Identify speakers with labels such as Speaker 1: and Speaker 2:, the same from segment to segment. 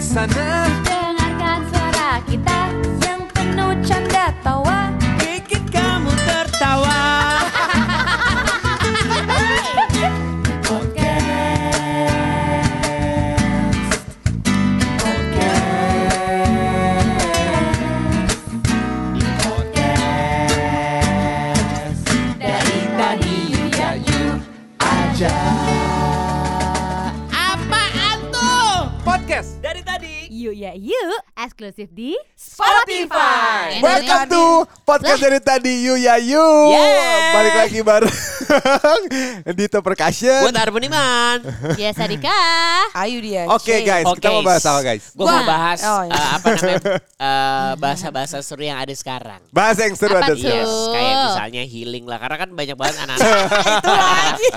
Speaker 1: sana
Speaker 2: Dengarkan suara kita yang penuh canda tawa
Speaker 1: Bikin kamu tertawa
Speaker 2: Dari tadi ya you
Speaker 3: Apaan tuh?
Speaker 1: Podcast
Speaker 3: Dari tadi.
Speaker 2: You ya you Eksklusif di
Speaker 3: Spotify.
Speaker 4: Welcome to podcast dari tadi Yu Ya Yu.
Speaker 3: Yeah.
Speaker 4: Balik lagi bareng Dito
Speaker 3: Gue
Speaker 4: Percussion.
Speaker 3: Tar Budiman.
Speaker 2: Yes Adika
Speaker 5: Ayo dia.
Speaker 4: Oke guys, kita mau bahas apa guys?
Speaker 3: Gue mau
Speaker 2: Wah.
Speaker 3: bahas
Speaker 5: Oh, iya.
Speaker 3: eh, apa namanya eh, bahasa-bahasa seru yang ada sekarang.
Speaker 4: Bahas yang seru
Speaker 2: Apa
Speaker 4: ada
Speaker 2: tuh?
Speaker 3: Yes,
Speaker 4: sekarang.
Speaker 3: kayak misalnya healing lah. Karena kan banyak banget anak-anak
Speaker 5: Itu lagi.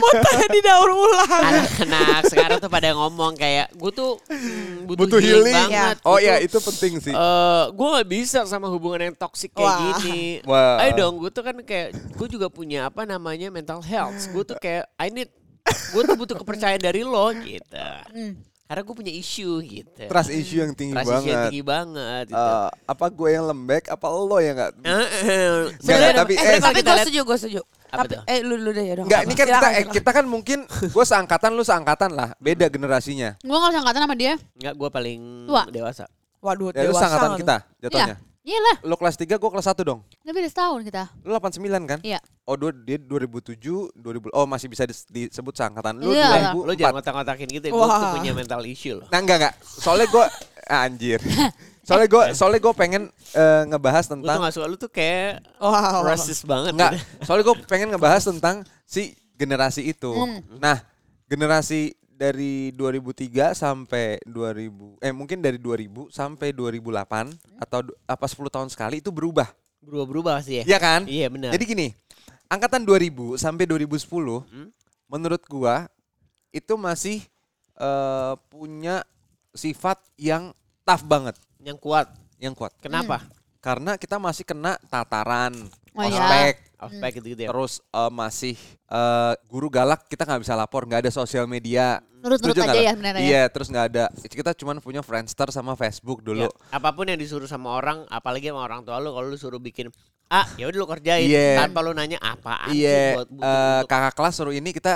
Speaker 5: Muter di daur ulang.
Speaker 3: anak-anak sekarang tuh pada ngomong kayak gue tuh mm, butuh,
Speaker 4: Butuh healing.
Speaker 3: banget.
Speaker 4: Oh
Speaker 3: Butuh,
Speaker 4: iya, itu penting sih.
Speaker 3: eh, gue gak bisa sama hubungan yang toksik kayak
Speaker 5: Wah.
Speaker 3: gini.
Speaker 4: Wah.
Speaker 3: Ayo dong, gue tuh kan kayak gue juga punya apa namanya mental health. Gue tuh kayak I need, gue tuh butuh kepercayaan dari lo gitu.
Speaker 5: Mm.
Speaker 3: Karena gue punya isu gitu.
Speaker 4: Trust issue yang tinggi
Speaker 3: Trust issue yang
Speaker 4: banget.
Speaker 3: tinggi banget. Gitu.
Speaker 4: Eh, apa gue yang lembek? Apa lo yang nggak?
Speaker 3: Eh, eh.
Speaker 4: Sebenarnya- tapi- eh,
Speaker 5: eh,
Speaker 3: kalau
Speaker 5: tapi
Speaker 3: kita
Speaker 5: gue
Speaker 3: lihat-
Speaker 5: setuju, gue setuju.
Speaker 3: Apa
Speaker 5: Tapi
Speaker 3: tuh?
Speaker 5: eh lu lu deh ya dong.
Speaker 4: Enggak, ini kan kita
Speaker 5: Silakan,
Speaker 4: eh,
Speaker 5: silakan.
Speaker 4: kita kan mungkin gue seangkatan lu seangkatan lah, beda generasinya.
Speaker 6: Gue gak usah angkatan sama dia.
Speaker 3: Enggak, gue paling
Speaker 6: Tua.
Speaker 3: dewasa.
Speaker 5: Waduh,
Speaker 4: Ya lu
Speaker 5: dewasa
Speaker 4: seangkatan
Speaker 5: lu.
Speaker 4: kita jatuhnya.
Speaker 6: Iya. Iya lah.
Speaker 4: Lu kelas 3, gue kelas 1 dong.
Speaker 6: Gak beda setahun kita.
Speaker 4: Lu 89 kan?
Speaker 6: Iya.
Speaker 4: Oh, dua, dia 2007, 2000. Oh, masih bisa dis- disebut seangkatan. Lu
Speaker 6: Iya.
Speaker 3: Lo
Speaker 4: 2004.
Speaker 3: Eh, jangan ngotak-ngotakin gitu. Gue tuh
Speaker 5: Wah.
Speaker 3: punya mental issue loh.
Speaker 4: Nah enggak enggak. Soalnya gue anjir. Soalnya gue soalnya gue pengen eh, ngebahas
Speaker 3: Gue tuh
Speaker 4: tentang
Speaker 3: gak suka lu tuh kayak
Speaker 5: Wow.
Speaker 3: rasis banget.
Speaker 4: Oh. enggak. Soalnya gue pengen ngebahas tentang si generasi itu. Nah generasi dari 2003 sampai 2000 eh mungkin dari 2000 sampai 2008 atau du- apa 10 tahun sekali itu berubah.
Speaker 3: Berubah-berubah sih ya.
Speaker 4: Iya kan?
Speaker 3: Iya benar.
Speaker 4: Jadi gini, angkatan 2000 sampai 2010 menurut gua itu masih eh, punya sifat yang tough banget,
Speaker 3: yang kuat.
Speaker 4: yang kuat.
Speaker 3: Kenapa?
Speaker 4: karena kita masih kena tataran
Speaker 6: Oh, iya.
Speaker 4: ospek
Speaker 3: Ospek gitu-gitu ya.
Speaker 4: terus eh, masih eh, guru galak kita nggak bisa lapor nggak ada sosial media
Speaker 6: Nurut-nurut
Speaker 4: Setuju nggak lo?
Speaker 6: aja ya sebenarnya ya?
Speaker 4: iya terus nggak ada kita cuman punya Friendster sama Facebook dulu
Speaker 3: Ya,
Speaker 6: Iya.
Speaker 3: apapun yang disuruh sama orang, apalagi sama orang tua lu kalau lu suruh bikin A, ya udah lu kerjain
Speaker 4: Iya.
Speaker 3: tanpa lu nanya
Speaker 4: iya
Speaker 3: apaan sih buat butuh-
Speaker 4: eh,
Speaker 3: butuh-
Speaker 4: kakak kelas suruh ini kita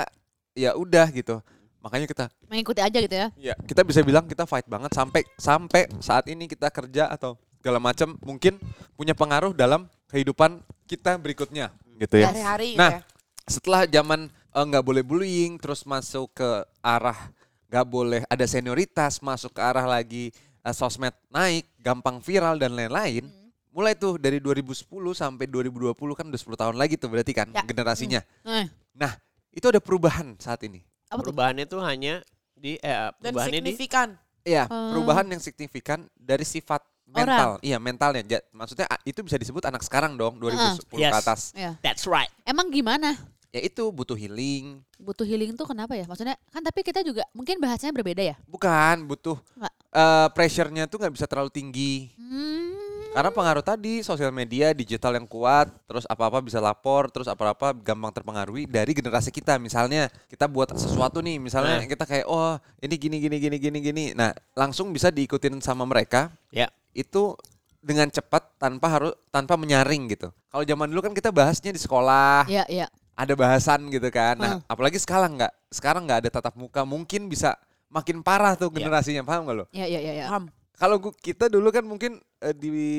Speaker 4: ya udah gitu makanya kita
Speaker 6: Mengikuti aja gitu ya.
Speaker 4: ya kita bisa bilang kita fight banget sampai sampai saat ini kita kerja atau segala macam mungkin punya pengaruh dalam kehidupan kita berikutnya gitu ya
Speaker 5: Hari-hari gitu
Speaker 4: Nah,
Speaker 5: ya.
Speaker 4: setelah zaman eh, nggak boleh bullying, terus masuk ke arah nggak boleh ada senioritas, masuk ke arah lagi eh, sosmed naik, gampang viral dan lain-lain.
Speaker 5: Hmm.
Speaker 4: Mulai tuh dari 2010 sampai 2020 kan udah 10 tahun lagi tuh berarti kan
Speaker 6: Ya.
Speaker 4: generasinya.
Speaker 6: Eh,
Speaker 4: Nah, itu ada perubahan saat ini.
Speaker 6: apa tuh?
Speaker 3: perubahannya tuh hanya di eh
Speaker 5: dan
Speaker 3: perubahannya di
Speaker 5: signifikan.
Speaker 4: Iya,
Speaker 6: Hmm.
Speaker 4: perubahan yang signifikan dari sifat mental. Iya, mentalnya. Ja- Maksudnya ah, itu bisa disebut anak sekarang dong, 2010 ke
Speaker 3: Yes.
Speaker 4: atas.
Speaker 6: Iya.
Speaker 3: That's right.
Speaker 6: Emang gimana?
Speaker 4: Ya itu butuh healing,
Speaker 6: Butuh healing tuh kenapa ya? Maksudnya kan tapi kita juga mungkin bahasanya berbeda ya.
Speaker 4: bukan butuh
Speaker 6: Nggak.
Speaker 4: eh pressure-nya tuh nggak bisa terlalu tinggi.
Speaker 6: Hmm.
Speaker 4: Karena pengaruh tadi sosial media, digital yang kuat, terus apa-apa bisa lapor, terus apa-apa gampang terpengaruhi dari generasi kita. Misalnya kita buat sesuatu nih, misalnya kita kayak oh ini gini gini gini gini gini. Nah, langsung bisa diikutin sama mereka
Speaker 3: Ya.
Speaker 4: itu dengan cepat tanpa harus tanpa menyaring gitu. Kalau zaman dulu kan kita bahasnya di sekolah,
Speaker 6: Iya, iya.
Speaker 4: ada bahasan gitu kan. Nah, apalagi sekarang nggak sekarang nggak ada tatap muka, mungkin bisa makin parah tuh
Speaker 3: Iya.
Speaker 4: generasinya, paham gak lo?
Speaker 6: Iya, iya, iya, iya.
Speaker 5: Paham.
Speaker 4: kalau gua- kita dulu kan mungkin eh,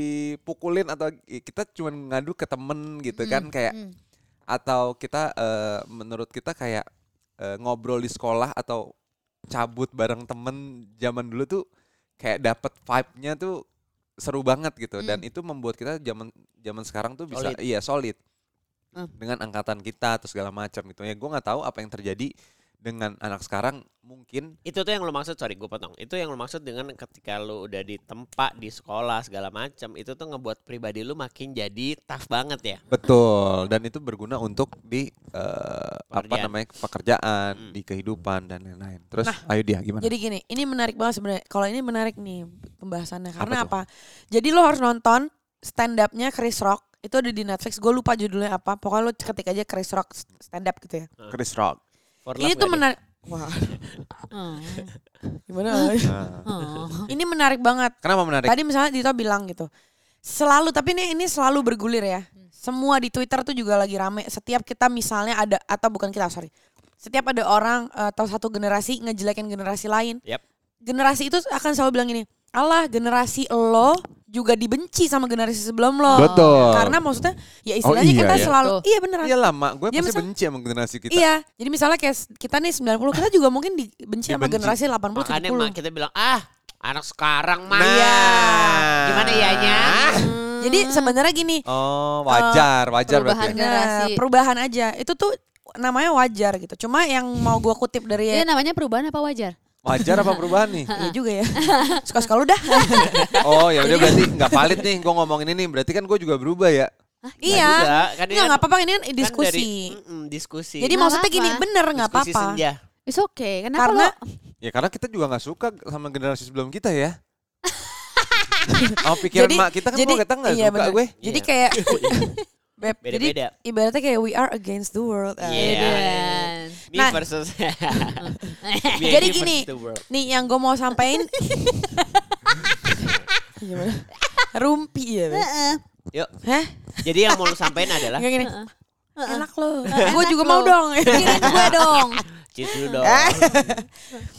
Speaker 4: dipukulin atau i- kita cuman ngadu ke temen gitu kan kayak
Speaker 6: mm.
Speaker 4: atau kita eh, menurut kita kayak eh, ngobrol di sekolah atau cabut bareng temen zaman dulu tuh kayak dapet vibe-nya tuh seru banget gitu dan itu membuat kita zaman zaman sekarang tuh bisa
Speaker 3: Solid.
Speaker 4: iya solid
Speaker 6: Hmm.
Speaker 4: dengan angkatan kita atau segala macam gitu ya gue nggak tahu apa yang terjadi dengan anak sekarang mungkin
Speaker 3: Itu tuh yang lo maksud, sorry gue potong. Itu yang lo maksud dengan ketika lo udah di tempat, di sekolah, segala macam Itu tuh ngebuat pribadi lo makin jadi tough banget ya.
Speaker 4: Betul, dan itu berguna untuk di eh, apa
Speaker 3: Pekerjaan.
Speaker 4: namanya pekerjaan, di kehidupan dan lain-lain. Terus ayo dia gimana?
Speaker 5: Jadi gini, ini menarik banget sebenarnya. Kalau ini menarik nih pembahasannya karena
Speaker 4: Apa tuh?
Speaker 5: apa? Jadi lo harus nonton stand up-nya Chris Rock. Itu ada di Netflix. Gue lupa judulnya apa. Pokoknya lo ketik aja Chris Rock stand up gitu ya.
Speaker 4: Chris Rock.
Speaker 3: For
Speaker 5: ini
Speaker 3: love
Speaker 5: tuh
Speaker 3: nggak
Speaker 5: menarik. Wah.
Speaker 6: Oh.
Speaker 5: Gimana?
Speaker 6: Oh.
Speaker 5: ini menarik banget.
Speaker 4: Kenapa menarik?
Speaker 5: Tadi misalnya Dito bilang gitu. Selalu tapi ini ini selalu bergulir ya.
Speaker 4: Hmm.
Speaker 5: Semua di Twitter tuh juga lagi rame. Setiap kita misalnya ada atau bukan kita sorry. Setiap ada orang eh, atau satu generasi ngejelekin generasi lain.
Speaker 3: Yap.
Speaker 5: Generasi itu akan selalu bilang gini, Allah generasi lo juga dibenci sama generasi sebelum lo.
Speaker 4: Betul.
Speaker 5: Karena maksudnya ya istilahnya
Speaker 4: iya
Speaker 5: kita
Speaker 4: ya.
Speaker 5: selalu
Speaker 6: Betul.
Speaker 5: iya beneran.
Speaker 4: Iya lama, gue
Speaker 5: Iya,
Speaker 4: pasti
Speaker 5: misal-
Speaker 4: benci sama generasi kita.
Speaker 5: Iya. Jadi misalnya kayak kita nih 90 kita juga mungkin dibenci sama
Speaker 4: Dibenci.
Speaker 5: generasi 80
Speaker 3: Makanya
Speaker 5: 70.
Speaker 3: mah kita bilang ah anak sekarang mah.
Speaker 4: Iya.
Speaker 3: Gimana ya, ianya?
Speaker 5: Nah. Jadi sebenarnya gini,
Speaker 4: Oh
Speaker 5: Eh,
Speaker 4: wajar, wajar berarti. ya.
Speaker 6: perubahan gen- Generasi.
Speaker 5: Nah, perubahan aja. Itu tuh namanya wajar gitu. Cuma yang mau gua kutip dari
Speaker 6: Ini Iya, namanya perubahan apa wajar?
Speaker 4: Wajar apa perubahan nih?
Speaker 5: Iya juga ya. Suka-suka lu dah.
Speaker 6: Nah,
Speaker 4: Oh ya udah berarti nggak valid nih gue ngomongin ini. Berarti kan gue juga berubah ya.
Speaker 5: iya.
Speaker 3: juga, kan
Speaker 5: Nggak
Speaker 3: ini kan-
Speaker 5: nggak apa-apa ini kan
Speaker 3: Kan
Speaker 5: diskusi.
Speaker 3: dari- mm, mm, diskusi.
Speaker 5: Jadi
Speaker 6: Nggak
Speaker 5: maksudnya
Speaker 6: apa-apa.
Speaker 5: gini, bener nggak
Speaker 3: Diskusi
Speaker 5: apa-apa.
Speaker 3: senja.
Speaker 6: It's okay. Kenapa
Speaker 5: Karena
Speaker 6: lo?
Speaker 4: Ya karena kita juga nggak suka sama generasi sebelum kita ya. Oh pikiran mak kita kan
Speaker 5: jadi-
Speaker 4: gua kita nggak
Speaker 5: iya,
Speaker 4: suka
Speaker 5: bener.
Speaker 4: gue.
Speaker 5: Jadi
Speaker 3: Iya.
Speaker 5: kayak Beb, jadi
Speaker 3: Beda-beda.
Speaker 5: ibaratnya kayak we are against the world. Eh,
Speaker 3: Iya.
Speaker 6: Dan-
Speaker 3: Me
Speaker 5: Nah.
Speaker 3: versus. Me-
Speaker 5: Jadi
Speaker 3: me versus
Speaker 5: gini.
Speaker 3: the world.
Speaker 5: Nih yang gue mau sampaikan Gimana? Rumpi ya, Beb.
Speaker 6: Nah.
Speaker 3: Yuk.
Speaker 5: Hah?
Speaker 3: Jadi yang mau lu sampaikan adalah
Speaker 5: Nggak gini. Enak lo. Gue
Speaker 6: Enak
Speaker 5: juga
Speaker 6: lo.
Speaker 5: mau dong. Kirim gue dong.
Speaker 3: cheers dulu dong.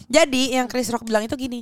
Speaker 5: Jadi yang Chris Rock bilang itu gini,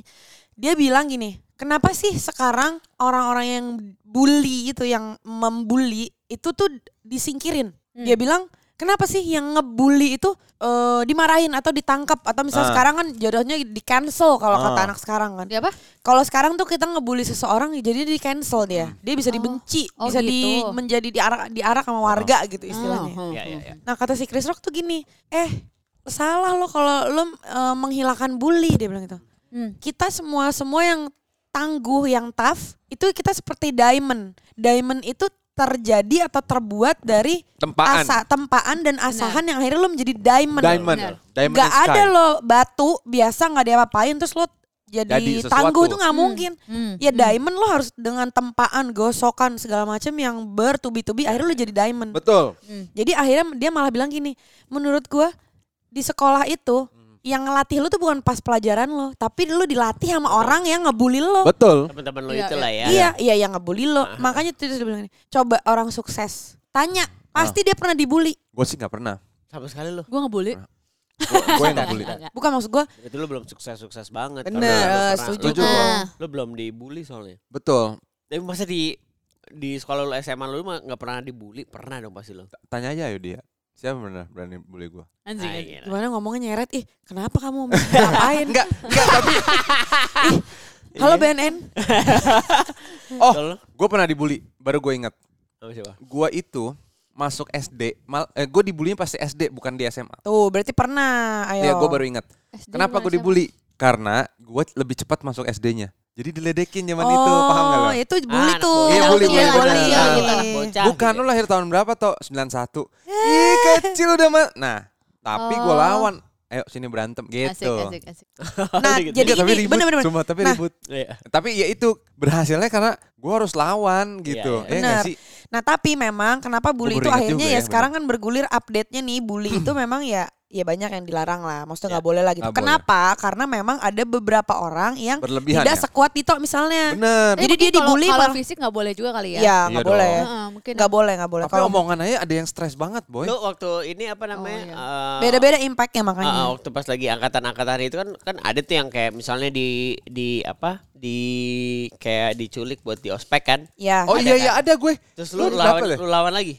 Speaker 5: dia bilang gini, kenapa sih sekarang orang-orang yang bully itu, yang membuli itu tuh disingkirin?
Speaker 6: Hmm.
Speaker 5: Dia bilang kenapa sih yang ngebully itu eh, dimarahin atau ditangkap atau
Speaker 4: Ah.
Speaker 5: misalnya sekarang kan jodohnya di cancel kalau kata
Speaker 4: Ah.
Speaker 5: anak sekarang kan?
Speaker 6: Dia apa?
Speaker 5: Kalau sekarang tuh kita ngebully seseorang ya jadi di cancel dia, dia bisa dibenci,
Speaker 6: Hmm. Oh,
Speaker 5: bisa di
Speaker 6: gitu.
Speaker 5: menjadi diarak diarak sama warga
Speaker 4: Ah.
Speaker 5: gitu istilahnya.
Speaker 6: Oh, oh,
Speaker 3: Ya, ya,
Speaker 6: oh.
Speaker 3: ya.
Speaker 5: Nah kata si Chris Rock tuh gini, eh salah lo kalau lo eh, menghilangkan bully dia bilang gitu.
Speaker 6: Hmm.
Speaker 5: Kita semua semua yang tangguh, yang tough itu kita seperti diamond. Diamond itu terjadi atau terbuat dari
Speaker 4: Tempaan.
Speaker 5: asa- tempaan dan asahan yang akhirnya lo menjadi diamond.
Speaker 4: Diamond.
Speaker 6: Bener.
Speaker 4: Diamond
Speaker 5: Gak
Speaker 4: in sky.
Speaker 5: ada lo batu biasa nggak ada apa-apain terus lo jadi,
Speaker 4: Jadi sesuatu.
Speaker 5: tangguh tuh nggak mungkin.
Speaker 6: Hmm.
Speaker 5: Ya diamond lo harus dengan tempaan, gosokan segala macam yang bertubi-tubi akhirnya lo jadi diamond.
Speaker 4: Betul.
Speaker 5: Jadi akhirnya dia malah bilang gini, menurut gua di sekolah itu
Speaker 4: Hmm.
Speaker 5: yang ngelatih lu tuh bukan pas pelajaran lo, tapi lu dilatih sama orang yang ngebully lo.
Speaker 4: Betul.
Speaker 3: Teman-teman lu
Speaker 6: Iya,
Speaker 3: itu lah ya.
Speaker 5: Iya, iya yang ngebully lo. Makanya itu dia bilang gini, coba orang sukses, tanya,
Speaker 4: Oh.
Speaker 5: pasti dia pernah dibully.
Speaker 4: Gue sih nggak pernah.
Speaker 3: Sama sekali lu.
Speaker 6: Gue ngebully.
Speaker 4: Gue yang nggak bully.
Speaker 5: Bukan maksud gua
Speaker 3: Itu lu belum sukses-sukses banget.
Speaker 5: Bener,
Speaker 3: Karena lu pernah-
Speaker 5: setuju.
Speaker 4: Setuju
Speaker 6: Ah.
Speaker 4: kok.
Speaker 3: Lu belum dibully soalnya.
Speaker 4: Betul.
Speaker 3: Tapi masa di di sekolah lu SMA lu mah nggak pernah dibully? Pernah dong pasti lu.
Speaker 4: Tanya aja yuk dia. Siapa benar berani bully gue?
Speaker 6: Anjing.
Speaker 3: Ah,
Speaker 6: anjing.
Speaker 3: iya lah.
Speaker 5: gimana ngomongnya nyeret, ih kenapa kamu ngapain?
Speaker 4: Enggak, enggak tapi. Iya.
Speaker 5: Halo BNN.
Speaker 4: Oh,
Speaker 3: Betul.
Speaker 4: gue pernah dibully. Baru gue ingat.
Speaker 3: Sama siapa?
Speaker 4: Gue itu masuk SD, mal, eh, gue dibulinya pasti SD bukan di SMA.
Speaker 5: Tuh berarti pernah, ayo.
Speaker 4: Iya, gue baru ingat.
Speaker 6: SD
Speaker 4: Kenapa
Speaker 6: bukan
Speaker 4: gue
Speaker 6: SMA.
Speaker 4: dibully? Karena gue lebih cepat masuk SD-nya. Jadi diledekin zaman
Speaker 5: Oh,
Speaker 4: itu, paham gak lo?
Speaker 5: itu
Speaker 3: Ah,
Speaker 5: bully
Speaker 3: anak
Speaker 5: tuh.
Speaker 3: bocah.
Speaker 4: Iya, bully,
Speaker 5: Iya,
Speaker 4: bully,
Speaker 5: bully.
Speaker 4: bener.
Speaker 5: Iya,
Speaker 3: Anak
Speaker 5: gitu.
Speaker 3: bocah
Speaker 4: Bukan
Speaker 3: gitu.
Speaker 4: lo lahir tahun berapa toh? 91. Ih, kecil udah mah. Nah, tapi gue
Speaker 6: Oh.
Speaker 4: lawan. Ayo sini berantem gitu.
Speaker 6: Asik, asik, asik.
Speaker 5: Nah,
Speaker 3: Gitu.
Speaker 4: Enggak, Iya,
Speaker 5: jadi
Speaker 4: tapi
Speaker 5: ini
Speaker 4: ribut,
Speaker 5: bener-bener.
Speaker 4: Cuma tapi
Speaker 5: Nah,
Speaker 4: ribut.
Speaker 3: Iya.
Speaker 4: Tapi ya itu berhasilnya karena gue harus lawan gitu.
Speaker 3: Iya,
Speaker 4: Iya,
Speaker 5: iya.
Speaker 4: nggak
Speaker 5: Bener.
Speaker 4: sih?
Speaker 5: Nah tapi memang kenapa bully
Speaker 4: Gua baru
Speaker 5: itu
Speaker 4: ingat
Speaker 5: akhirnya
Speaker 4: juga
Speaker 5: ya
Speaker 4: ya,
Speaker 5: sekarang kan bergulir update-nya nih bully itu memang ya ya banyak yang dilarang lah. Maksudnya nggak boleh lah gitu.
Speaker 4: Ya, nggak boleh.
Speaker 5: Kenapa? Karena memang ada beberapa orang yang
Speaker 4: Berlebihan
Speaker 5: tidak
Speaker 4: ya?
Speaker 5: sekuat Tito misalnya.
Speaker 4: Bener.
Speaker 5: Jadi
Speaker 6: mungkin
Speaker 5: dia dibully
Speaker 6: kalau, kalau
Speaker 5: malah-
Speaker 6: fisik nggak boleh juga kali ya.
Speaker 5: Iya
Speaker 4: Iya
Speaker 5: nggak
Speaker 4: dong.
Speaker 5: boleh.
Speaker 6: Heeh, mungkin.
Speaker 5: Nggak boleh nggak boleh.
Speaker 4: Tapi
Speaker 5: Kalau
Speaker 4: omongan aja ada yang stres banget, boy.
Speaker 3: Lu waktu ini apa namanya?
Speaker 6: iya.
Speaker 3: eh,
Speaker 5: beda-beda impactnya makanya.
Speaker 3: Ah, ah, waktu pas lagi angkatan-angkatan itu kan kan ada tuh yang kayak misalnya di di apa di kayak diculik buat di ospek kan
Speaker 5: Ya.
Speaker 4: Oh iya iya ada gue.
Speaker 3: terus lu,
Speaker 4: berapa
Speaker 3: lawan
Speaker 4: deh?
Speaker 3: lu lawan lagi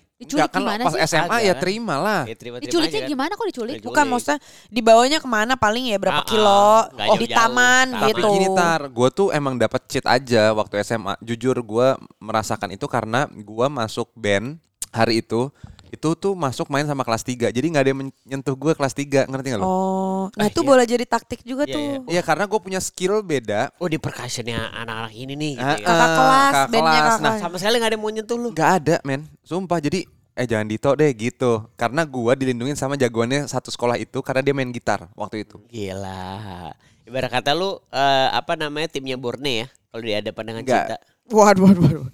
Speaker 4: Nggak,
Speaker 6: Diculik
Speaker 4: kan
Speaker 6: gimana
Speaker 4: pas
Speaker 6: sih?
Speaker 4: SMA
Speaker 3: Ada
Speaker 4: ya
Speaker 3: kan?
Speaker 4: terima lah.
Speaker 3: Ya, terima-terima
Speaker 6: Diculiknya
Speaker 3: aja kan.
Speaker 6: gimana kok
Speaker 4: iya,
Speaker 6: diculik?
Speaker 3: Diculik.
Speaker 5: Bukan maksudnya dibawanya kemana paling ya berapa
Speaker 3: Ah, ah.
Speaker 5: kilo
Speaker 3: Nggak
Speaker 5: di
Speaker 3: jauh-jauh.
Speaker 5: taman
Speaker 3: Tapi
Speaker 4: Tapi
Speaker 5: gitu.
Speaker 4: gini tar, gue tuh emang dapat cheat aja waktu SMA. Jujur gue merasakan itu karena gue masuk band hari itu. Itu tuh masuk main sama kelas 3. Jadi nggak ada yang menyentuh gue kelas 3, ngerti gak lo?
Speaker 5: Oh, nah
Speaker 3: Ah,
Speaker 5: itu
Speaker 3: iya.
Speaker 5: boleh jadi taktik juga
Speaker 3: Iya,
Speaker 5: tuh.
Speaker 3: iya.
Speaker 4: Iya karena gue punya skill beda.
Speaker 3: oh di percussionnya anak-anak ini nih gitu
Speaker 4: Heeh,
Speaker 3: ya.
Speaker 5: Kakak kelas,
Speaker 4: kakak
Speaker 5: bandnya
Speaker 4: kelas.
Speaker 5: kakak
Speaker 4: Nah,
Speaker 5: kelas.
Speaker 3: sama sekali nggak ada yang mau nyentuh lu
Speaker 4: nggak ada men. Sumpah jadi eh jangan dito deh gitu. Karena gue dilindungin sama jagoannya satu sekolah itu karena dia main gitar waktu itu.
Speaker 3: gila ibarat kata lu eh, apa namanya timnya Borne ya kalau di ada pandangan
Speaker 4: Nggak.
Speaker 3: cinta
Speaker 5: Waduh, waduh, waduh.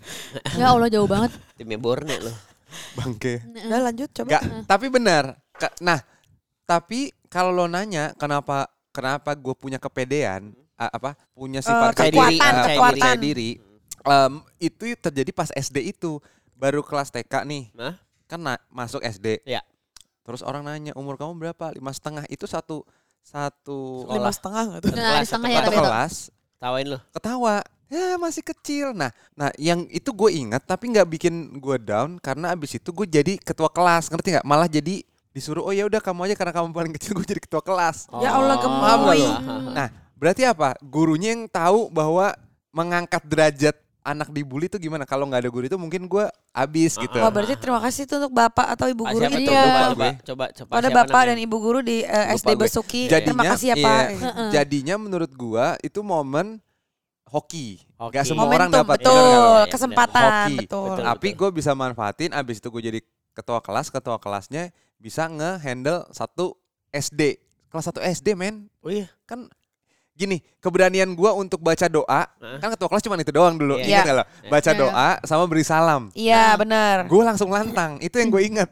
Speaker 6: Ya Allah jauh banget.
Speaker 3: timnya Borne lu
Speaker 4: Bangke.
Speaker 5: Udah lanjut coba.
Speaker 4: Nggak, tapi benar. Ka- Nah, tapi kalau lo nanya kenapa kenapa gue punya kepedean a- apa punya sifat
Speaker 3: percaya
Speaker 4: kekuatan,
Speaker 3: diri,
Speaker 4: eh,
Speaker 3: percaya
Speaker 4: percaya
Speaker 5: diri.
Speaker 4: diri Em, itu terjadi pas SD itu baru kelas TK nih
Speaker 3: Nah,
Speaker 4: kan na- masuk SD
Speaker 3: ya.
Speaker 4: terus orang nanya umur kamu berapa lima setengah itu satu satu
Speaker 5: lima setengah nggak tuh?
Speaker 6: Nah, di
Speaker 3: Kelas,
Speaker 6: tengah ya
Speaker 4: satu
Speaker 6: tapi itu.
Speaker 4: kelas
Speaker 3: Tawain lu.
Speaker 4: ketawa ya masih kecil nah nah yang itu gue ingat tapi nggak bikin gue down karena abis itu gue jadi ketua kelas ngerti nggak malah jadi disuruh oh ya udah kamu aja karena kamu paling kecil gue jadi ketua kelas
Speaker 5: Ya
Speaker 3: Oh.
Speaker 5: Allah,
Speaker 4: Paham nggak
Speaker 5: gemoy.
Speaker 4: lu? nah berarti apa gurunya yang tahu bahwa mengangkat derajat anak dibully itu gimana kalau nggak ada guru itu mungkin gue abis gitu
Speaker 5: Wah Oh, berarti Ah, terima kasih ya, tuh untuk bapak atau ibu
Speaker 3: Ah,
Speaker 5: guru
Speaker 3: siapa
Speaker 5: ini
Speaker 3: tuh?
Speaker 5: ya.
Speaker 3: Coba,
Speaker 4: Lupa
Speaker 3: coba,
Speaker 4: gue.
Speaker 3: coba, coba.
Speaker 5: Pada
Speaker 3: siapa
Speaker 5: bapak dan
Speaker 3: namanya?
Speaker 5: ibu guru di eh,
Speaker 4: Lupa
Speaker 5: SD
Speaker 4: gue.
Speaker 5: Besuki. Terima kasih ya
Speaker 4: iya,
Speaker 5: Pak.
Speaker 4: jadinya menurut gua itu momen hoki.
Speaker 3: Hoki.
Speaker 4: Gak semua
Speaker 5: Momentum
Speaker 4: orang dapat
Speaker 5: betul,
Speaker 4: benar nggak?
Speaker 3: benar.
Speaker 5: kesempatan
Speaker 4: Hoki.
Speaker 5: betul. Iya,
Speaker 3: Betul.
Speaker 4: Tapi gue bisa manfaatin abis itu gue jadi ketua kelas, ketua kelasnya bisa ngehandle satu SD. Kelas 1 SD, men.
Speaker 3: Oh iya.
Speaker 4: Kan gini, keberanian gua untuk baca doa,
Speaker 3: Hah?
Speaker 4: kan ketua kelas cuma itu doang dulu.
Speaker 3: Iya.
Speaker 4: Ingat nggak lo? Baca
Speaker 6: Iya.
Speaker 4: doa sama beri salam.
Speaker 5: Iya benar.
Speaker 4: Gue langsung lantang, itu yang gue ingat.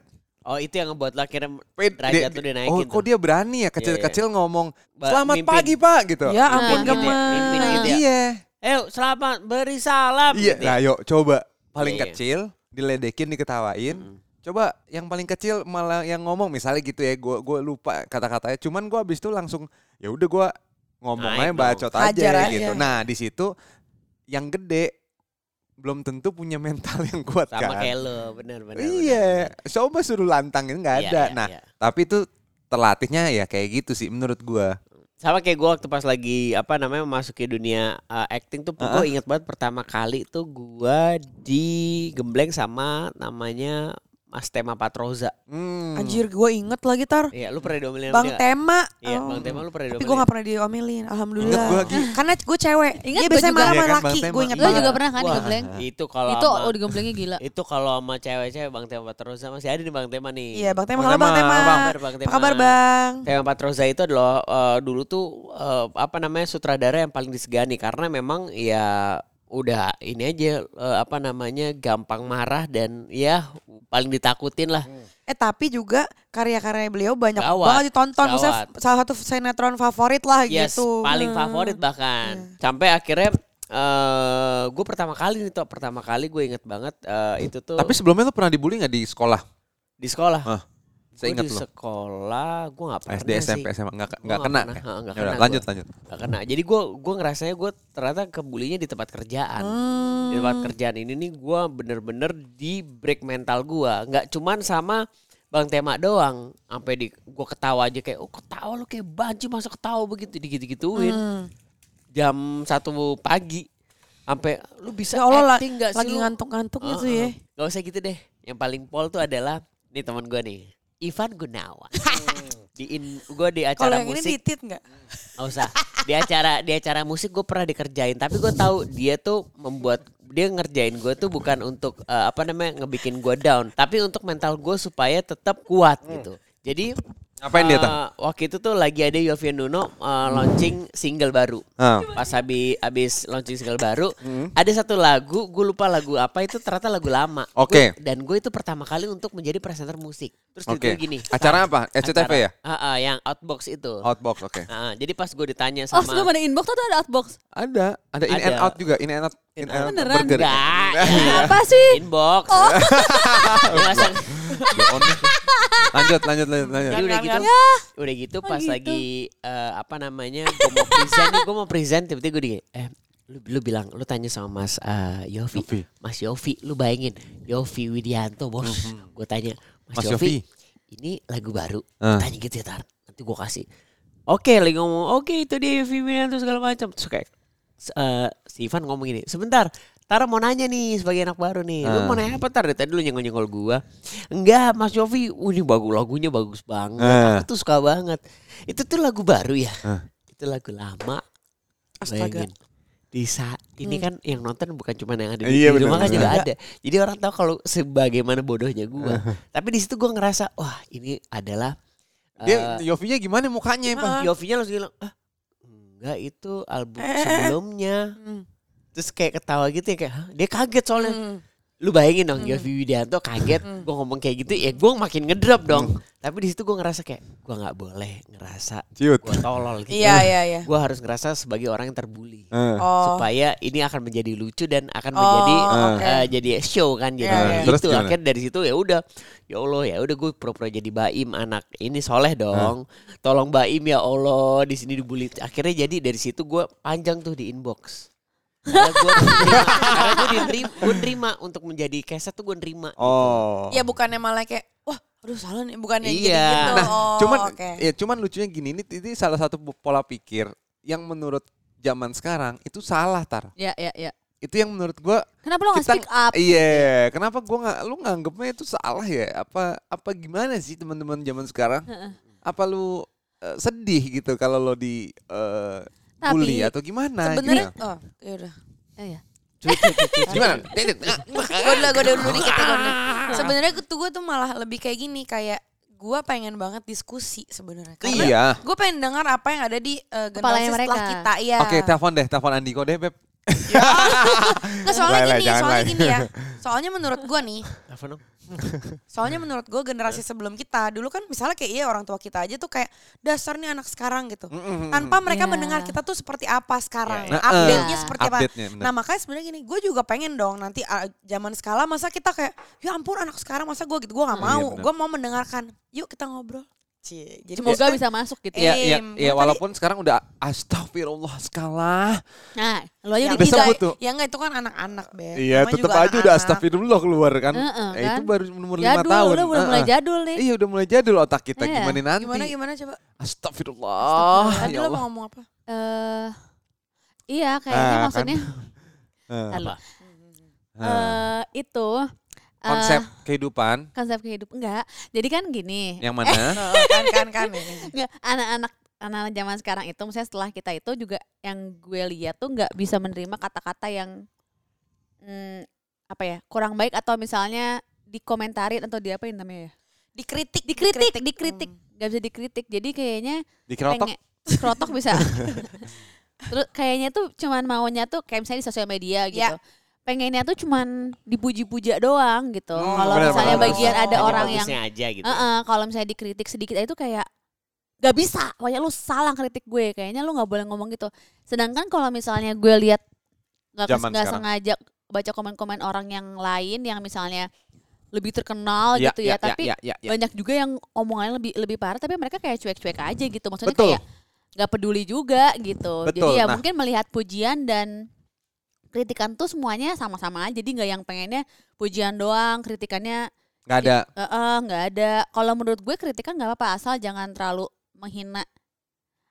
Speaker 3: Oh itu yang ngebuat lo akhirnya
Speaker 4: Ped-
Speaker 3: derajat
Speaker 4: de-
Speaker 3: lu
Speaker 4: de-
Speaker 3: dinaikin
Speaker 4: Oh,
Speaker 3: tuh. Iya,
Speaker 4: kok dia berani ya kecil-kecil ngomong
Speaker 3: Ba-
Speaker 4: selamat
Speaker 3: mimpin.
Speaker 4: pagi pak gitu.
Speaker 6: Iya.
Speaker 5: Ya
Speaker 3: Mimpin
Speaker 5: ampun
Speaker 3: gitu ya, mimpin
Speaker 5: gemes.
Speaker 3: gitu ya.
Speaker 4: Iya.
Speaker 3: Eh selamat beri salam.
Speaker 4: Iya,
Speaker 3: gitu ya.
Speaker 4: nah yuk coba paling
Speaker 3: Iya, iya.
Speaker 4: kecil diledekin diketawain. Coba yang paling kecil malah yang ngomong misalnya gitu ya, gua gua lupa kata-katanya. Cuman gua abis itu langsung ya udah gua ngomong aja
Speaker 3: Naik
Speaker 4: bacot aja,
Speaker 5: Hajar aja.
Speaker 4: gitu. Nah, di situ yang gede belum tentu punya mental yang kuat
Speaker 3: Sama
Speaker 4: kan.
Speaker 3: kayak lo, benar-benar.
Speaker 4: iya, coba suruh lantangin
Speaker 3: Iya,
Speaker 4: nggak ada. nah, tapi itu terlatihnya ya kayak gitu sih menurut gua.
Speaker 3: sama kayak gue waktu pas lagi apa namanya memasuki dunia uh, acting tuh gue ingat banget pertama kali tuh gue digembleng sama namanya Mas Tema Patroza.
Speaker 4: Hmm.
Speaker 5: Anjir gue inget lagi tar.
Speaker 3: Iya, lu pernah diomelin sama
Speaker 5: Bang
Speaker 3: dia nggak?
Speaker 5: Tema.
Speaker 3: Iya,
Speaker 5: Oh.
Speaker 3: Bang Tema lu pernah
Speaker 5: Tapi
Speaker 3: diomelin.
Speaker 5: gue gak pernah diomelin Alhamdulillah
Speaker 4: Ingat gua lagi.
Speaker 5: Karena gue cewek
Speaker 6: Ingat
Speaker 5: Dia
Speaker 6: gua
Speaker 5: biasanya
Speaker 6: juga.
Speaker 5: marah
Speaker 4: Iya
Speaker 5: sama
Speaker 4: kan, Bang
Speaker 5: laki
Speaker 4: Tema.
Speaker 5: Gue inget
Speaker 6: Lo
Speaker 4: Iya.
Speaker 5: banget
Speaker 6: juga pernah kan
Speaker 3: Wah,
Speaker 6: digembleng?
Speaker 3: Itu kalau
Speaker 6: Itu
Speaker 3: sama-
Speaker 6: oh digemblengnya gila.
Speaker 3: itu kalau sama cewek-cewek Bang Tema Patroza masih ada nih Bang Tema nih.
Speaker 5: Iya Bang Tema
Speaker 4: Bang
Speaker 5: Halo Bang
Speaker 4: Tema.
Speaker 5: Tema
Speaker 3: Apa kabar, Bang
Speaker 5: Apa
Speaker 3: Tema?
Speaker 5: kabar Bang?
Speaker 3: Tema Patroza Eh, itu adalah eh, dulu tuh eh, apa namanya sutradara yang paling disegani karena memang ya udah ini aja eh, apa namanya gampang marah dan ya paling ditakutin lah.
Speaker 5: Eh tapi juga karya-karya beliau banyak
Speaker 3: Gawat,
Speaker 5: banget ditonton. Maksudnya
Speaker 3: gawat.
Speaker 5: salah satu sinetron favorit lah
Speaker 3: Yes,
Speaker 5: gitu.
Speaker 3: paling
Speaker 5: Hmm.
Speaker 3: favorit bahkan. Sampai akhirnya eh gue pertama kali nih tuh pertama kali gue inget banget eh, itu tuh
Speaker 4: Tapi sebelumnya lu pernah dibully nggak di sekolah?
Speaker 3: di sekolah.
Speaker 4: Hah,
Speaker 3: Gua
Speaker 4: saya ingat
Speaker 3: di
Speaker 4: lu.
Speaker 3: sekolah gue nggak pernah
Speaker 4: SD, SMP,
Speaker 3: Iya sih.
Speaker 4: SMA nggak
Speaker 3: Gua
Speaker 4: nggak
Speaker 3: nggak
Speaker 4: kena.
Speaker 3: pernah,
Speaker 4: ya?
Speaker 3: ha, nggak
Speaker 4: Ya udah,
Speaker 3: kena
Speaker 4: lanjut
Speaker 3: gua.
Speaker 4: lanjut.
Speaker 3: Gak kena. Jadi gue gue ngerasanya gue ternyata kebulinya di tempat kerjaan. Di tempat
Speaker 5: Hmm.
Speaker 3: kerjaan ini nih gue bener-bener di break mental gue. Nggak cuman sama Bang Tema doang. Sampai di gue ketawa aja kayak, oh ketawa lu kayak banci masa ketawa begitu digitu-gituin.
Speaker 5: Hmm.
Speaker 3: Jam satu pagi sampai lu bisa
Speaker 5: Ya Allah la-
Speaker 3: acting nggak sih
Speaker 5: lagi
Speaker 3: lu?"
Speaker 5: ngantuk-ngantuk gitu
Speaker 3: Heeh.
Speaker 5: ya.
Speaker 3: Gak usah gitu deh. Yang paling pol tuh adalah nih teman gue nih, Ivan Gunawan. di gue di
Speaker 5: Kalau
Speaker 3: acara
Speaker 5: yang ini
Speaker 3: musik
Speaker 5: ditit nggak?
Speaker 3: Nggak usah. Di acara di acara musik gue pernah dikerjain, tapi gue tahu dia tuh membuat dia ngerjain gue tuh bukan untuk eh, apa namanya ngebikin gue down, tapi untuk mental gue supaya tetap kuat gitu. Jadi
Speaker 4: Ngapain Hmm. dia, Tang?
Speaker 3: eh, Waktu itu tuh lagi ada Yovie Nuno eh, launching single baru.
Speaker 4: Ah. Hmm.
Speaker 3: Pas habis habis launching single baru, ada satu lagu, gue lupa lagu apa itu ternyata lagu lama.
Speaker 4: Oke.
Speaker 3: Gua- Dan gue itu pertama kali untuk menjadi presenter musik. Terus
Speaker 4: Oke.
Speaker 3: tiba-tiba gini.
Speaker 4: Acara apa? SCTV ya?
Speaker 3: Ah, ah, yang Outbox itu.
Speaker 4: Outbox, oke.
Speaker 3: Ah, jadi pas gue ditanya
Speaker 6: Oh
Speaker 3: sama
Speaker 6: sebelum ada inbox tuh ada outbox.
Speaker 4: Ada, ada in
Speaker 3: Ada.
Speaker 4: and out juga, in and out, in, and out
Speaker 6: Beneran?
Speaker 4: burger.
Speaker 3: Enggak.
Speaker 6: Apa sih?
Speaker 3: inbox.
Speaker 6: Oh.
Speaker 3: Dia langsung-
Speaker 4: Bohong. lanjut, lanjut, lanjut, lanjut.
Speaker 3: jadi udah gitu, udah gitu pas
Speaker 6: gitu.
Speaker 3: lagi eh, apa namanya, gue mau present, nih, gue mau present, tiba-tiba gue di, eh, lu, lu bilang, lu tanya sama Mas eh, Yofi,
Speaker 4: Yofi.
Speaker 3: Mas Yofi, lu bayangin, Yofi Widianto bos, gue tanya,
Speaker 4: Mm-hmm.
Speaker 3: Mas,
Speaker 4: Mas
Speaker 3: Yofi,
Speaker 4: Yofi.
Speaker 3: ini lagu baru,
Speaker 4: Ah.
Speaker 3: tanya gitu ya tar, nanti gue kasih. Oke, lagi ngomong, oke itu dia Yofi Widianto segala macam, terus kayak s- eh, si Ivan ngomong gini, sebentar, Tara mau nanya nih sebagai anak baru nih. Lu
Speaker 4: Ah.
Speaker 3: mau nanya apa Tar? Dari Tadi lu nyenggol-nyenggol gua. Enggak, Mas Yofi, "Wih, ini bagus lagunya bagus banget.
Speaker 4: Eh.
Speaker 3: Aku tuh suka banget. Itu tuh lagu baru ya.
Speaker 4: Eh.
Speaker 3: Itu lagu lama.
Speaker 5: Astaga.
Speaker 3: Bayangin.
Speaker 4: gitu.
Speaker 3: Di saat ini kan yang nonton bukan cuma yang ada di,
Speaker 4: Iya,
Speaker 3: di rumah
Speaker 4: benar,
Speaker 3: kan juga ada. Jadi orang tahu kalau sebagaimana bodohnya gua.
Speaker 4: Ah.
Speaker 3: Tapi di situ gua ngerasa, wah, ini adalah
Speaker 4: Dia
Speaker 3: eh,
Speaker 4: Yofinya gimana mukanya, Pak?
Speaker 3: Yofi-nya langsung bilang, ah enggak itu album
Speaker 5: Eh, eh, eh.
Speaker 3: sebelumnya.
Speaker 5: Hmm.
Speaker 3: Terus kayak ketawa gitu ya kayak, "Hah?" dia kaget soalnya. lu bayangin
Speaker 5: Hmm.
Speaker 3: dong Yovie Widianto kaget gue ngomong kayak gitu ya gue makin ngedrop
Speaker 5: Hmm.
Speaker 3: dong tapi di situ gue ngerasa kayak gue nggak boleh ngerasa
Speaker 4: Ciut.
Speaker 3: gue tolol gitu
Speaker 5: Iya, iya, iya.
Speaker 3: gue harus ngerasa sebagai orang yang terbuli
Speaker 4: Eh.
Speaker 5: Oh.
Speaker 3: supaya ini akan menjadi lucu dan akan
Speaker 5: Oh,
Speaker 3: menjadi
Speaker 5: oke.
Speaker 3: eh, jadi show kan jadi
Speaker 5: Iya,
Speaker 4: iya. Terus
Speaker 3: gitu
Speaker 4: gimana?
Speaker 3: akhirnya dari situ ya udah ya allah ya udah gue pura-pura jadi baim anak ini soleh dong tolong baim ya allah di sini dibully akhirnya jadi dari situ gue panjang tuh di inbox karena gue nerima, gue nerima untuk menjadi keset tuh gue nerima
Speaker 4: Oh.
Speaker 5: Ya bukannya malah kayak wah aduh salah nih bukannya
Speaker 3: Iya.
Speaker 5: jadi gitu.
Speaker 4: Nah,
Speaker 5: oh,
Speaker 4: cuman
Speaker 5: oke.
Speaker 4: ya cuman lucunya gini ini, ini salah satu pola pikir yang menurut zaman sekarang itu salah tar.
Speaker 5: Iya,
Speaker 6: Ya, ya, ya.
Speaker 4: Itu yang menurut gua
Speaker 6: Kenapa lo nggak
Speaker 4: Kita-
Speaker 6: speak up?
Speaker 4: Iya, kenapa gua nggak lu nganggepnya itu salah ya? Apa apa gimana sih teman-teman zaman sekarang? Apa lu eh, sedih gitu kalau lo di eh,
Speaker 6: Tapi-
Speaker 4: bully atau gimana?
Speaker 5: Sebenarnya oh, ya udah.
Speaker 6: Eh, ya.
Speaker 4: gitu? gimana?
Speaker 5: Gue dulu, gue dulu dikit ya, gua
Speaker 4: Ah.
Speaker 5: dulu. Sebenarnya tuh gue tuh malah lebih kayak gini kayak gue pengen banget diskusi sebenarnya. Karena
Speaker 4: Iya.
Speaker 5: Gue pengen dengar apa yang ada di eh, generasi
Speaker 6: Kepalanya
Speaker 5: setelah
Speaker 6: mereka.
Speaker 5: kita ya.
Speaker 4: Oke, telepon deh, telepon Andiko deh, Beb.
Speaker 5: Nggak, soalnya
Speaker 4: Lai, lai,
Speaker 5: gini,
Speaker 4: jangan
Speaker 5: soalnya
Speaker 4: lai.
Speaker 5: gini ya. Soalnya menurut gue nih,
Speaker 3: apa dong
Speaker 5: Soalnya
Speaker 4: Hmm.
Speaker 5: menurut gue generasi
Speaker 4: Iya.
Speaker 5: sebelum kita dulu kan misalnya kayak iya orang tua kita aja tuh kayak dasar nih anak sekarang gitu.
Speaker 4: Hmm,
Speaker 5: Tanpa mereka
Speaker 6: Iya.
Speaker 5: mendengar kita tuh seperti apa sekarang.
Speaker 4: Iya, iya.
Speaker 5: Update-nya
Speaker 6: Nah,
Speaker 5: seperti apa.
Speaker 4: update-nya, benar.
Speaker 5: Nah makanya sebenarnya gini gue juga pengen dong nanti ah, zaman skala masa kita kayak ya ampun anak sekarang masa gue gitu. Gue gak
Speaker 4: Iya,
Speaker 5: mau.
Speaker 4: benar.
Speaker 5: Gue mau mendengarkan. Yuk kita ngobrol. Cie. Jadi
Speaker 6: Semoga
Speaker 5: maksudnya-
Speaker 6: bisa masuk gitu
Speaker 5: Iya.
Speaker 6: ya.
Speaker 4: Iya, iya,
Speaker 5: Em,
Speaker 4: iya,
Speaker 5: tadi-
Speaker 4: walaupun sekarang udah astagfirullah skala.
Speaker 5: Ya,
Speaker 6: Nah, lo aja udah
Speaker 4: Udah
Speaker 5: enggak,
Speaker 6: gila.
Speaker 4: sebut tuh.
Speaker 5: Ya enggak itu kan anak-anak
Speaker 6: Ya,
Speaker 4: Iya,
Speaker 5: Beb. Namanya
Speaker 4: tetap
Speaker 5: juga
Speaker 4: aja udah
Speaker 5: anak-anak.
Speaker 4: astagfirullah keluar kan.
Speaker 6: Heeh,
Speaker 4: Eh, Itu
Speaker 6: kan?
Speaker 4: baru umur lima
Speaker 6: Jadul,
Speaker 4: tahun.
Speaker 6: udah mulai
Speaker 4: Heeh.
Speaker 6: jadul nih.
Speaker 4: Iya, udah mulai jadul otak kita.
Speaker 6: Iya.
Speaker 4: Gimana nanti?
Speaker 5: Gimana gimana coba?
Speaker 4: Astagfirullah.
Speaker 5: Tadi
Speaker 4: Ya
Speaker 5: lo
Speaker 4: Allah.
Speaker 5: mau ngomong apa?
Speaker 6: Eh, iya, kayaknya
Speaker 4: Ah, kan.
Speaker 6: maksudnya
Speaker 4: Eh,
Speaker 6: Ntar lo.
Speaker 4: eh,
Speaker 6: Eh, itu eh,
Speaker 4: konsep kehidupan
Speaker 6: konsep kehidupan enggak. Jadi kan gini.
Speaker 4: yang mana?
Speaker 5: Oh, kan kan kan. ya.
Speaker 6: Nggak, anak-anak anak-anak zaman sekarang itu misalnya setelah kita itu juga yang gue lihat tuh nggak bisa menerima kata-kata yang mm, apa ya kurang baik atau misalnya dikomentarin atau di apa yang namanya ya
Speaker 5: Dikritik, Hmm.
Speaker 6: dikritik dikritik nggak bisa dikritik jadi kayaknya
Speaker 4: Di kerotok.
Speaker 6: pengen kerotok bisa terus kayaknya tuh cuman maunya tuh kayak misalnya di sosial media gitu
Speaker 5: Ya.
Speaker 6: pengennya tuh cuman dipuji-puja doang gitu
Speaker 4: Hmm,
Speaker 6: kalau
Speaker 4: benar,
Speaker 6: misalnya
Speaker 4: benar.
Speaker 6: bagian ada
Speaker 3: Hanya
Speaker 6: orang yang
Speaker 3: bagusnya aja gitu
Speaker 6: Heeh, kalau misalnya dikritik sedikit aja itu kayak gak bisa, pokoknya lu salah kritik gue, kayaknya lu nggak boleh ngomong gitu. Sedangkan kalau misalnya gue lihat nggak kes-
Speaker 4: Zaman
Speaker 6: nggak
Speaker 4: sekarang.
Speaker 6: sengaja baca komen-komen orang yang lain yang misalnya lebih terkenal
Speaker 4: Ya,
Speaker 6: gitu
Speaker 4: ya, ya,
Speaker 6: ya, tapi
Speaker 4: ya, ya, ya.
Speaker 6: banyak juga yang omongannya lebih lebih parah, tapi mereka kayak cuek-cuek aja gitu, maksudnya
Speaker 4: Betul.
Speaker 6: kayak nggak peduli juga gitu. Jadi
Speaker 4: Betul,
Speaker 6: ya
Speaker 4: nah.
Speaker 6: mungkin melihat pujian dan kritikan tuh semuanya sama-sama aja, jadi nggak yang pengennya pujian doang, kritikannya
Speaker 4: Gak ada.
Speaker 6: Heeh, nggak ada. Kalau menurut gue kritikan nggak apa-apa asal jangan terlalu menghina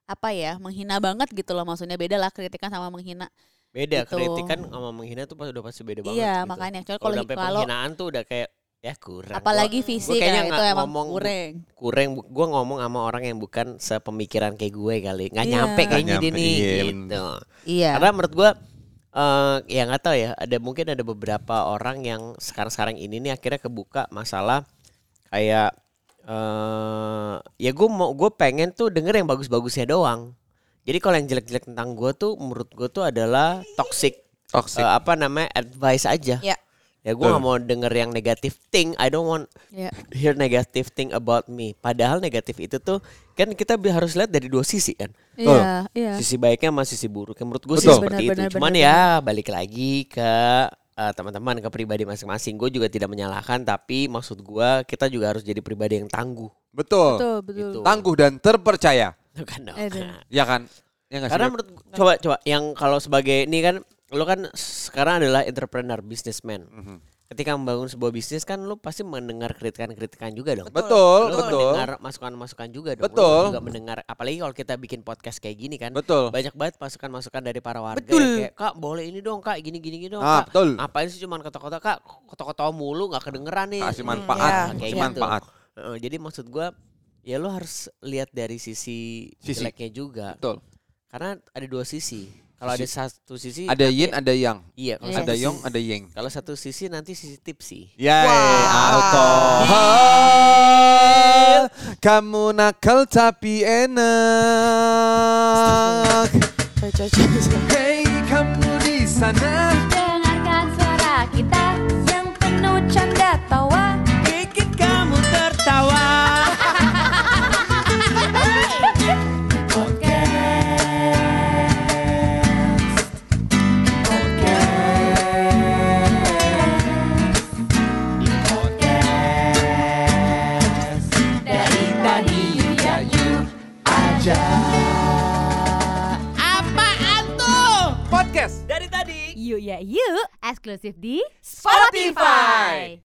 Speaker 6: apa ya menghina banget gitu loh maksudnya beda lah kritikan sama menghina
Speaker 3: beda
Speaker 6: Gitu.
Speaker 3: kritikan sama menghina tuh pas udah pasti beda banget
Speaker 6: iya
Speaker 3: gitu.
Speaker 6: makanya Cuman
Speaker 3: kalau
Speaker 6: kalau
Speaker 3: sampai
Speaker 6: kalau
Speaker 3: penghinaan tuh udah kayak ya kurang Gua-
Speaker 6: apalagi fisik
Speaker 3: kayaknya
Speaker 6: ya, itu
Speaker 3: nggak
Speaker 6: emang
Speaker 3: ngomong-
Speaker 6: kurang
Speaker 3: kurang gue ngomong sama orang yang bukan sepemikiran kayak gue kali nggak
Speaker 6: Iya.
Speaker 3: nyampe kayaknya
Speaker 4: Nggak
Speaker 3: dia
Speaker 4: nyampe,
Speaker 3: nih
Speaker 4: iya,
Speaker 3: gitu
Speaker 6: iya
Speaker 3: karena menurut gue eh ya nggak tahu ya ada mungkin ada beberapa orang yang sekarang sekarang ini nih akhirnya kebuka masalah kayak eh ya gue mau gue pengen tuh denger yang bagus-bagusnya doang jadi kalau yang jelek-jelek tentang gue tuh menurut gue tuh adalah toxic
Speaker 4: Toxic.
Speaker 3: eh, apa namanya advice aja
Speaker 5: Ya.
Speaker 3: ya gue nggak mau denger yang negatif thing I don't want
Speaker 6: Iya.
Speaker 3: hear negative thing about me. Padahal negatif itu tuh kan kita bi- harus lihat dari dua sisi kan.
Speaker 6: iya iya
Speaker 3: Sisi baiknya sama sisi buruknya. Menurut gue sih
Speaker 4: Betul.
Speaker 3: seperti
Speaker 6: Benar, benar,
Speaker 3: itu. Cuman
Speaker 6: benar,
Speaker 3: ya balik lagi ke eh, teman-teman ke pribadi masing-masing. Gue juga tidak menyalahkan tapi maksud gue kita juga harus jadi pribadi yang tangguh.
Speaker 4: Betul.
Speaker 6: betul betul
Speaker 3: Gitu.
Speaker 4: Tangguh dan terpercaya.
Speaker 3: Tuh kan dong.
Speaker 6: Aduh.
Speaker 4: Ya kan? Ya nggak sih,
Speaker 3: Karena
Speaker 4: Beb?
Speaker 3: menurut gua- coba coba yang kalau sebagai ini kan lo kan sekarang adalah entrepreneur, businessman. Ketika membangun sebuah bisnis kan lo pasti mendengar kritikan-kritikan juga dong.
Speaker 4: betul,
Speaker 3: Lu
Speaker 4: betul.
Speaker 3: mendengar masukan-masukan juga dong. Lu
Speaker 4: Betul.
Speaker 3: juga mendengar apalagi kalau kita bikin podcast kayak gini kan.
Speaker 4: Betul.
Speaker 3: Banyak banget masukan-masukan dari para warga
Speaker 5: Betul.
Speaker 3: yang kayak, "Kak, boleh ini dong, Kak, gini-gini gini dong,
Speaker 4: Ah,
Speaker 3: Kak."
Speaker 4: betul.
Speaker 3: Apain sih cuman kata-kata, Kak? Kata-kata mulu nggak kedengeran nih.
Speaker 4: Kasih
Speaker 3: Hmm,
Speaker 4: manfaat,
Speaker 3: kayak
Speaker 5: ya,
Speaker 4: kasih
Speaker 3: gitu.
Speaker 4: manfaat.
Speaker 3: Heeh, jadi maksud gua ya lo harus lihat dari sisi,
Speaker 4: Sisi.
Speaker 3: jeleknya juga.
Speaker 4: Betul.
Speaker 3: Karena ada dua sisi. Kalau ada satu sisi
Speaker 4: Ada yin, ada yang.
Speaker 3: iya, kalau
Speaker 4: Ada
Speaker 3: satu
Speaker 4: yong,
Speaker 3: sisi-
Speaker 4: ada yang.
Speaker 3: Kalau satu sisi nanti sisi tipsi.
Speaker 4: Yay, alkohol. Kamu nakal tapi enak. Hey, kamu di sana.
Speaker 2: Dengarkan suara kita yang Apaan tuh?
Speaker 4: Podcast.
Speaker 2: Dari tadi.
Speaker 7: Yuk ya yuk, eksklusif di
Speaker 2: Spotify.